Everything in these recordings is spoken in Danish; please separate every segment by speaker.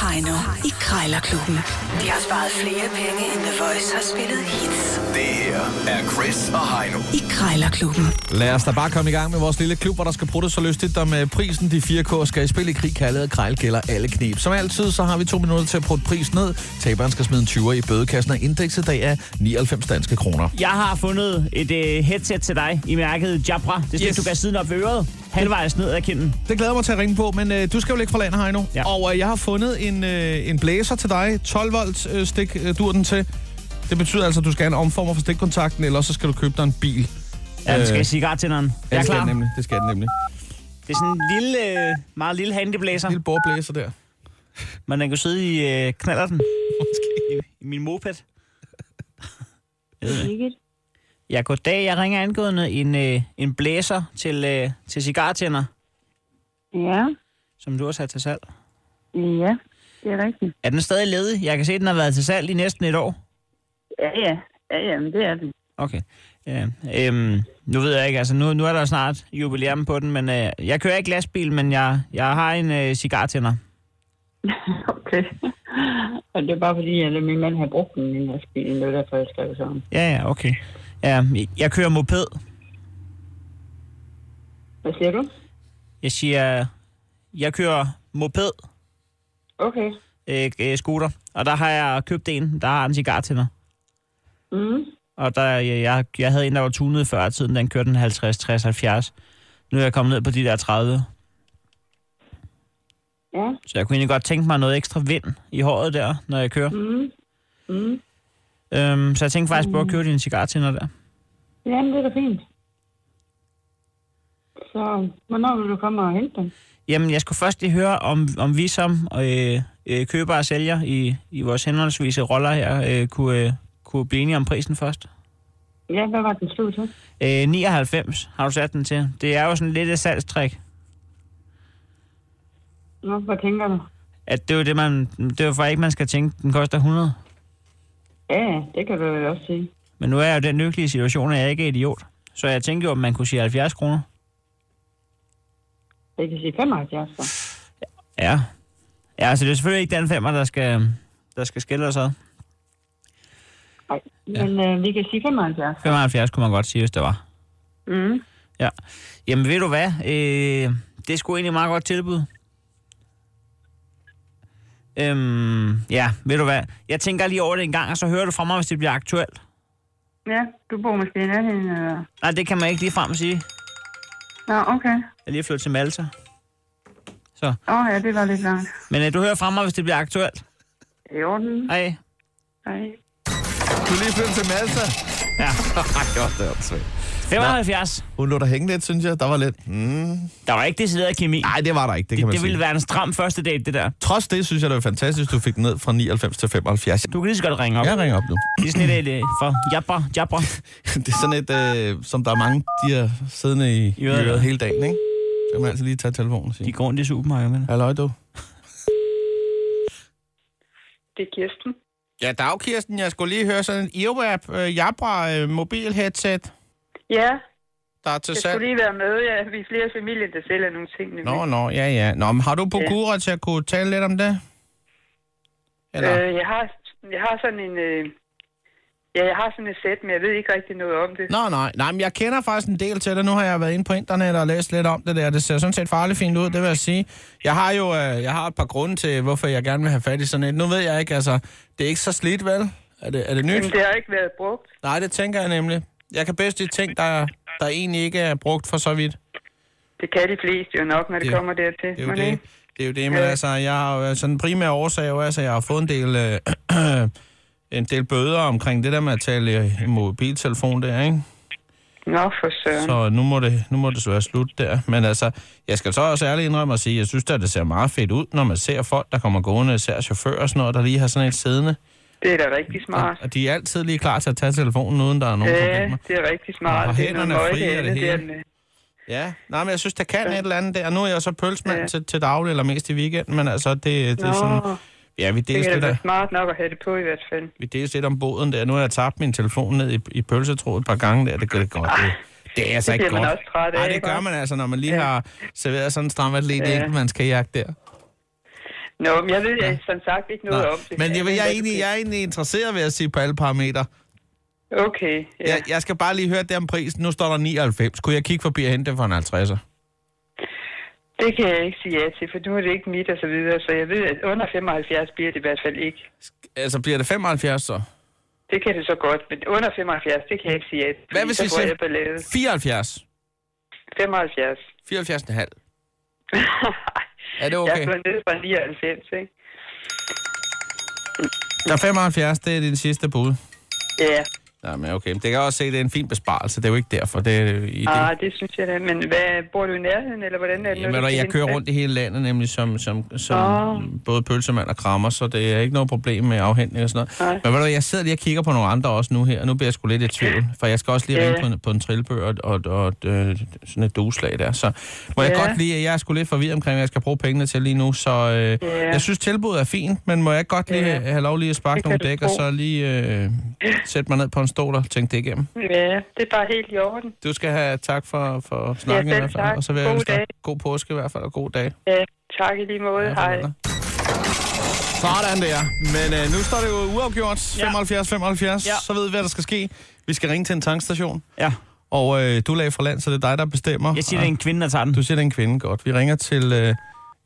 Speaker 1: Heino i Krejlerklubben. De har sparet flere penge, end The Voice har spillet hits
Speaker 2: Det her er Chris og Heino.
Speaker 1: i Krejlerklubben.
Speaker 3: Lad os da bare komme i gang med vores lille klub, hvor der skal bruges så lystigt, der med prisen de 4K skal i spil i krig, kaldet og krejl gælder alle knep. Som altid, så har vi to minutter til at putte prisen ned. Taberen skal smide en 20'er i bødekassen, og indekset i dag er 99 danske kroner.
Speaker 4: Jeg har fundet et øh, headset til dig i mærket Jabra. Det er yes.
Speaker 3: Yes.
Speaker 4: du kan sidde op ved øret, halvvejs ned ad kinden.
Speaker 3: Det glæder jeg mig til at ringe på, men øh, du skal jo ligge for landet her endnu. Ja.
Speaker 4: Ja.
Speaker 3: Og øh, jeg har fundet en, øh, en blæser til dig. 12 volt øh, stik øh, dur den til. Det betyder altså, at du skal have en omformer for stikkontakten, eller også så skal du købe dig en bil.
Speaker 4: Ja, den skal
Speaker 3: Øh,
Speaker 4: i cigarettænderen.
Speaker 3: Ja,
Speaker 4: Jeg er
Speaker 3: det skal
Speaker 4: klar.
Speaker 3: den nemlig. Det skal den nemlig.
Speaker 4: Det er sådan en lille, øh, meget lille handyblæser,
Speaker 3: Lille bordblæser der.
Speaker 4: men den kan sidde i øh, knaller den.
Speaker 3: Måske.
Speaker 4: I, I min moped. Jeg ved det ikke. Ja, goddag. Jeg ringer angående en, øh, en blæser til, øh, til cigarettænder,
Speaker 5: Ja,
Speaker 4: som du har sat til salg.
Speaker 5: ja, det er rigtigt.
Speaker 4: Er den stadig ledig? Jeg kan se, at den har været til salg i næsten et år.
Speaker 5: Ja, ja, ja, ja men det er det.
Speaker 4: Okay. Ja, øhm, nu ved jeg ikke, altså nu, nu er der snart jubilæum på den, men øh, jeg kører ikke lastbil, men jeg, jeg har en øh, cigartænder.
Speaker 5: Okay. Og det er bare fordi, at min mand har brugt den i deres bil, det er derfor, jeg skrev sådan.
Speaker 4: Ja, ja, okay. Ja, jeg kører moped.
Speaker 5: Hvad siger du?
Speaker 4: Jeg siger, jeg kører moped,
Speaker 5: Okay.
Speaker 4: øh, øh, scooter, og der har jeg købt en, der har en cigartænder.
Speaker 5: Mm.
Speaker 4: Og der, jeg, jeg, jeg havde en, der var tunet før i tiden, den kørte den 50, 60, 70. Nu er jeg kommet ned på de der 30.
Speaker 5: Ja.
Speaker 4: Så jeg kunne egentlig godt tænke mig noget ekstra vind i håret der, når jeg kører.
Speaker 5: Mm. Mm.
Speaker 4: Øhm, så jeg tænkte faktisk på at købe din cigartænder der.
Speaker 5: Jamen, det er da fint. Så hvornår vil du komme og hente den?
Speaker 4: Jamen, jeg skulle først lige høre, om, om vi som øh, øh, køber og sælger i, i vores henholdsvise roller her, øh, kunne, øh, kunne blive enige om prisen først.
Speaker 5: Ja, hvad var den slog til?
Speaker 4: Øh, 99 har du sat den til. Det er jo sådan lidt et salgstrik.
Speaker 5: Nå, hvad tænker du?
Speaker 4: At det er jo det, man, det er jo for ikke, man skal tænke, den koster 100.
Speaker 5: Ja, ja, det kan du jo også sige.
Speaker 4: Men nu er jeg jo i den lykkelige situation, at jeg ikke er idiot. Så jeg tænkte jo, om man kunne sige 70 kroner.
Speaker 5: Jeg kan sige 75, så.
Speaker 4: Ja. Ja, så det er selvfølgelig ikke den femmer, der skal, der skal skille os ad.
Speaker 5: Nej, men øh, vi kan sige 75.
Speaker 4: 75 kunne man godt sige, hvis det var.
Speaker 5: Mm.
Speaker 4: Ja. Jamen ved du hvad, øh, det er sgu egentlig et meget godt tilbud. Øhm, ja, ved du hvad, jeg tænker lige over det en gang, og så hører du fra mig, hvis det bliver aktuelt.
Speaker 5: Ja, du bor måske i nærheden, eller?
Speaker 4: Nej, det kan man ikke lige frem sige.
Speaker 5: Nå, okay.
Speaker 4: Jeg er lige flyttet til Malta. Så.
Speaker 5: Åh oh, ja, det var lidt langt.
Speaker 4: Men øh, du hører fra mig, hvis det bliver aktuelt.
Speaker 5: I orden.
Speaker 4: Hej.
Speaker 5: Hej.
Speaker 3: Du er lige flyttet til Malta.
Speaker 4: Ja.
Speaker 3: Ej, det var svært.
Speaker 4: 75.
Speaker 3: Hun lå der hænge lidt, synes jeg. Der var lidt... Mm.
Speaker 4: Der var ikke decideret kemi.
Speaker 3: Nej, det var der ikke, det kan
Speaker 4: det,
Speaker 3: man
Speaker 4: det ville
Speaker 3: sige.
Speaker 4: være en stram første date, det der.
Speaker 3: Trods det, synes jeg, det var fantastisk, du fik den ned fra 99 til 75.
Speaker 4: Du kan lige så godt ringe op.
Speaker 3: Jeg ringer op nu.
Speaker 4: Det er sådan et øh, for jabra, jabra.
Speaker 3: Det er sådan et, øh, som der er mange, de er siddende i, I
Speaker 4: I øret,
Speaker 3: øret
Speaker 4: ja.
Speaker 3: hele dagen, ikke? Så kan man altid altså lige tage telefonen og
Speaker 4: De
Speaker 3: sige,
Speaker 4: går rundt i supermarkedet med det.
Speaker 3: Halløj, du.
Speaker 5: Det er Kirsten.
Speaker 3: Ja, dag, Kirsten. Jeg skulle lige høre sådan en earwap øh, Jabra øh, mobil headset,
Speaker 5: Ja,
Speaker 3: der er til
Speaker 5: jeg skulle lige være med. Ja, vi er flere familier, der sælger nogle ting. nemlig.
Speaker 3: Nå, nå, ja, ja. Nå, men har du på kura til at kunne tale lidt om det? Eller? Øh.
Speaker 5: øh, jeg, har, jeg har sådan en... Øh, ja, jeg har sådan et sæt, men jeg ved ikke rigtig noget om det.
Speaker 3: Nå, nej. Nej, men jeg kender faktisk en del til det. Nu har jeg været inde på internet og læst lidt om det der. Det ser sådan set farligt fint ud, det vil jeg sige. Jeg har jo øh, jeg har et par grunde til, hvorfor jeg gerne vil have fat i sådan et. Nu ved jeg ikke, altså, det er ikke så slidt, vel? Er det, er det nyt?
Speaker 5: Men det har ikke været brugt.
Speaker 3: Nej, det tænker jeg nemlig. Jeg kan bedst lide ting, der, der egentlig ikke er brugt for så vidt.
Speaker 5: Det kan de fleste jo nok, når det,
Speaker 3: Det-
Speaker 5: det kommer dertil.
Speaker 3: Det er jo
Speaker 5: Men,
Speaker 3: det.
Speaker 5: ikke?
Speaker 3: Det er jo det, men
Speaker 5: Ja.
Speaker 3: altså, jeg har jo sådan en primær årsag, er jo, altså, jeg har fået en del, øh, en del bøder omkring det der med at tale i mobiltelefon der, ikke?
Speaker 5: Nå, for søren.
Speaker 3: Så nu må det, nu må det så være slut der. Men altså, jeg skal så også ærligt indrømme at sige, at jeg synes da, det ser meget fedt ud, når man ser folk, der kommer gående, især chauffører og sådan noget, der lige har sådan et siddende.
Speaker 5: Det er da rigtig smart.
Speaker 3: Og de er altid lige klar til at tage telefonen, uden der er nogen
Speaker 5: Ja,
Speaker 3: problemer.
Speaker 5: det er rigtig
Speaker 3: Og
Speaker 5: smart. Det er
Speaker 3: hænderne
Speaker 5: noget
Speaker 3: er
Speaker 5: møg,
Speaker 3: frie og det
Speaker 5: andet,
Speaker 3: hele.
Speaker 5: er den, øh.
Speaker 3: Ja, nej, men jeg synes, der kan et eller andet der. Nu er jeg jo så pølsmand ja.
Speaker 5: Ja.
Speaker 3: til, til daglig, eller mest i weekenden, men altså, det, det er
Speaker 5: Nå,
Speaker 3: sådan... Ja, vi
Speaker 5: det
Speaker 3: deles,
Speaker 5: er
Speaker 3: lidt,
Speaker 5: da
Speaker 3: af,
Speaker 5: være smart nok at have det på i hvert fald.
Speaker 3: vi deles lidt om båden der. Nu har jeg tabt min telefon ned i, i pølsetrådet et par gange der. Det gør det godt. Det, det er altså
Speaker 5: det
Speaker 3: ikke
Speaker 5: bliver man
Speaker 3: godt.
Speaker 5: også træt af,
Speaker 3: Nej, det
Speaker 5: ikke
Speaker 3: gør
Speaker 5: også?
Speaker 3: man altså, når man lige ja. har serveret sådan en stram atlet ja.
Speaker 5: Ja.
Speaker 3: enkeltmandskajak der.
Speaker 5: Nå, men jeg ved ja. som sagt ikke noget
Speaker 3: Nej.
Speaker 5: om det.
Speaker 3: Men jeg, jeg, er
Speaker 5: ikke
Speaker 3: egentlig, jeg er egentlig interesseret ved at sige på alle parametre.
Speaker 5: Okay, ja.
Speaker 3: Jeg, jeg skal bare lige høre det om prisen. Nu står der 99. Kunne jeg kigge forbi og hente den for en 50'er?
Speaker 5: Det kan jeg ikke sige ja til, for nu er det ikke mit og så videre, så jeg ved, at under 75 bliver det i hvert fald ikke.
Speaker 3: Altså, bliver det 75 så?
Speaker 5: Det kan det så godt, men under 75, det kan jeg ikke sige ja til.
Speaker 3: Hvad
Speaker 5: fordi
Speaker 3: hvis
Speaker 5: så
Speaker 3: vi
Speaker 5: får
Speaker 3: siger
Speaker 5: jeg ballade.
Speaker 3: 74?
Speaker 5: 75.
Speaker 3: 74,5. Er det okay?
Speaker 5: Jeg er gået ned fra 99, ikke?
Speaker 3: Der er 75, det er din sidste bud.
Speaker 5: Ja,
Speaker 3: Jamen, okay. Det kan jeg også se, det er en fin besparelse. Det er jo ikke derfor. Det er i det.
Speaker 5: ah, det synes jeg da. Men hvad, bor du i nærheden, eller hvordan er det?
Speaker 3: Jamen, og jeg kører rundt i hele landet, nemlig som, som, som
Speaker 5: Åh.
Speaker 3: både pølsemand og krammer, så det er ikke noget problem med afhentning og sådan noget.
Speaker 5: Nej.
Speaker 3: Men ved du, hvad, jeg sidder lige og kigger på nogle andre også nu her, og nu bliver jeg sgu lidt i tvivl, for jeg skal også lige
Speaker 5: Ja.
Speaker 3: ringe på en, på en trillebør og, og, og øh, sådan et dueslag der. Så må jeg
Speaker 5: Ja.
Speaker 3: godt lige, jeg er sgu lidt forvirret omkring, hvad jeg skal bruge pengene til lige nu, så øh,
Speaker 5: Ja.
Speaker 3: jeg synes tilbuddet er fint, men må jeg ikke godt lige
Speaker 5: Ja.
Speaker 3: have lov lige at sparke
Speaker 5: Det kan
Speaker 3: nogle
Speaker 5: du
Speaker 3: dæk, og
Speaker 5: tro.
Speaker 3: så lige øh, sætte mig ned på en stol og tænke det igennem.
Speaker 5: Ja, det er bare helt i orden.
Speaker 3: Du skal have tak for, for snakken i
Speaker 5: selv
Speaker 3: hvert fald,
Speaker 5: tak.
Speaker 3: og så vil jeg
Speaker 5: God
Speaker 3: ønske dig
Speaker 5: dag.
Speaker 3: god påske i hvert fald, og god dag.
Speaker 5: Ja, tak i lige måde. Ja, Hej.
Speaker 3: Sådan der. Men øh, nu står det jo uafgjort.
Speaker 4: Ja.
Speaker 3: 75-75. Ja.
Speaker 4: Ja.
Speaker 3: Så ved vi, hvad der skal ske. Vi skal ringe til en tankstation.
Speaker 4: Ja.
Speaker 3: Og øh, du lagde fra land, så det er dig, der bestemmer. Ah,
Speaker 4: Jeg siger, det er en kvinde, der tager den.
Speaker 3: Du siger, det er en kvinde. Godt. Vi ringer til øh,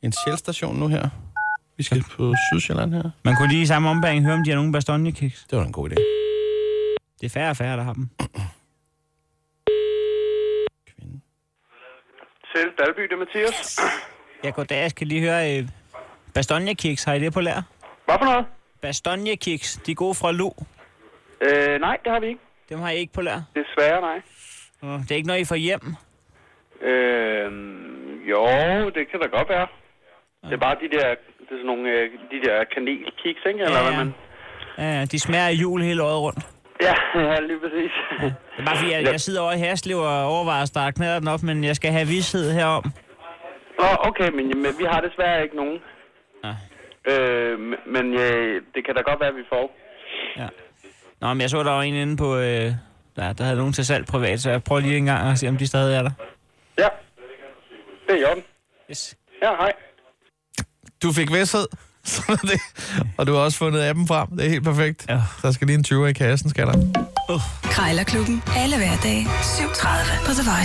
Speaker 3: en sjælstation nu her. Vi skal på Sydsjælland her.
Speaker 4: Man kunne lige i samme ombæring høre, om de har nogen bastonjekiks.
Speaker 3: Det var da en god idé.
Speaker 4: Det er færre og færre, der har dem.
Speaker 3: Kvinde.
Speaker 6: Selv Dalby, det er Mathias.
Speaker 4: Jeg går der, jeg skal lige høre... Øh, bastonjekiks, har I det på lær?
Speaker 6: Hvad for noget?
Speaker 4: Bastonjekiks, de er gode fra Lu.
Speaker 6: Øh, nej, det har vi ikke.
Speaker 4: Dem har I ikke på lær.
Speaker 6: Desværre nej.
Speaker 4: Det er ikke noget, I får hjem.
Speaker 6: Øh, jo, det kan da godt være. Det er bare de der, det er sådan nogle, øh, de der kanelkiks, ikke? Eller
Speaker 4: Ja,
Speaker 6: hvad
Speaker 4: ja.
Speaker 6: man...
Speaker 4: Ja, ja, de smager af jul hele året rundt.
Speaker 6: Ja, ja, lige præcis.
Speaker 4: Det er bare fordi, jeg, jeg sidder over i Haslev og overvejer at starte knalderen op, men jeg skal have vidshed herom.
Speaker 6: Nå, okay, men, men vi har desværre ikke nogen.
Speaker 4: Nej.
Speaker 6: Øh, men- men øh, det kan da godt være, at vi får.
Speaker 4: Ja. Nå, men jeg så, der var en inde på... Øh, der, der havde nogen til salg privat, så jeg prøver lige en gang at se, om de stadig er der.
Speaker 6: Ja, det er i orden.
Speaker 4: Yes.
Speaker 6: Ja, hej.
Speaker 3: Du fik vidsthed. Sådan er det. Og du har også fundet appen frem. Det er helt perfekt.
Speaker 4: Ja.
Speaker 3: Der skal lige en 20 i kassen, skal der.
Speaker 1: Krejlerklubben. Alle hverdage. 7.30 på The Voice.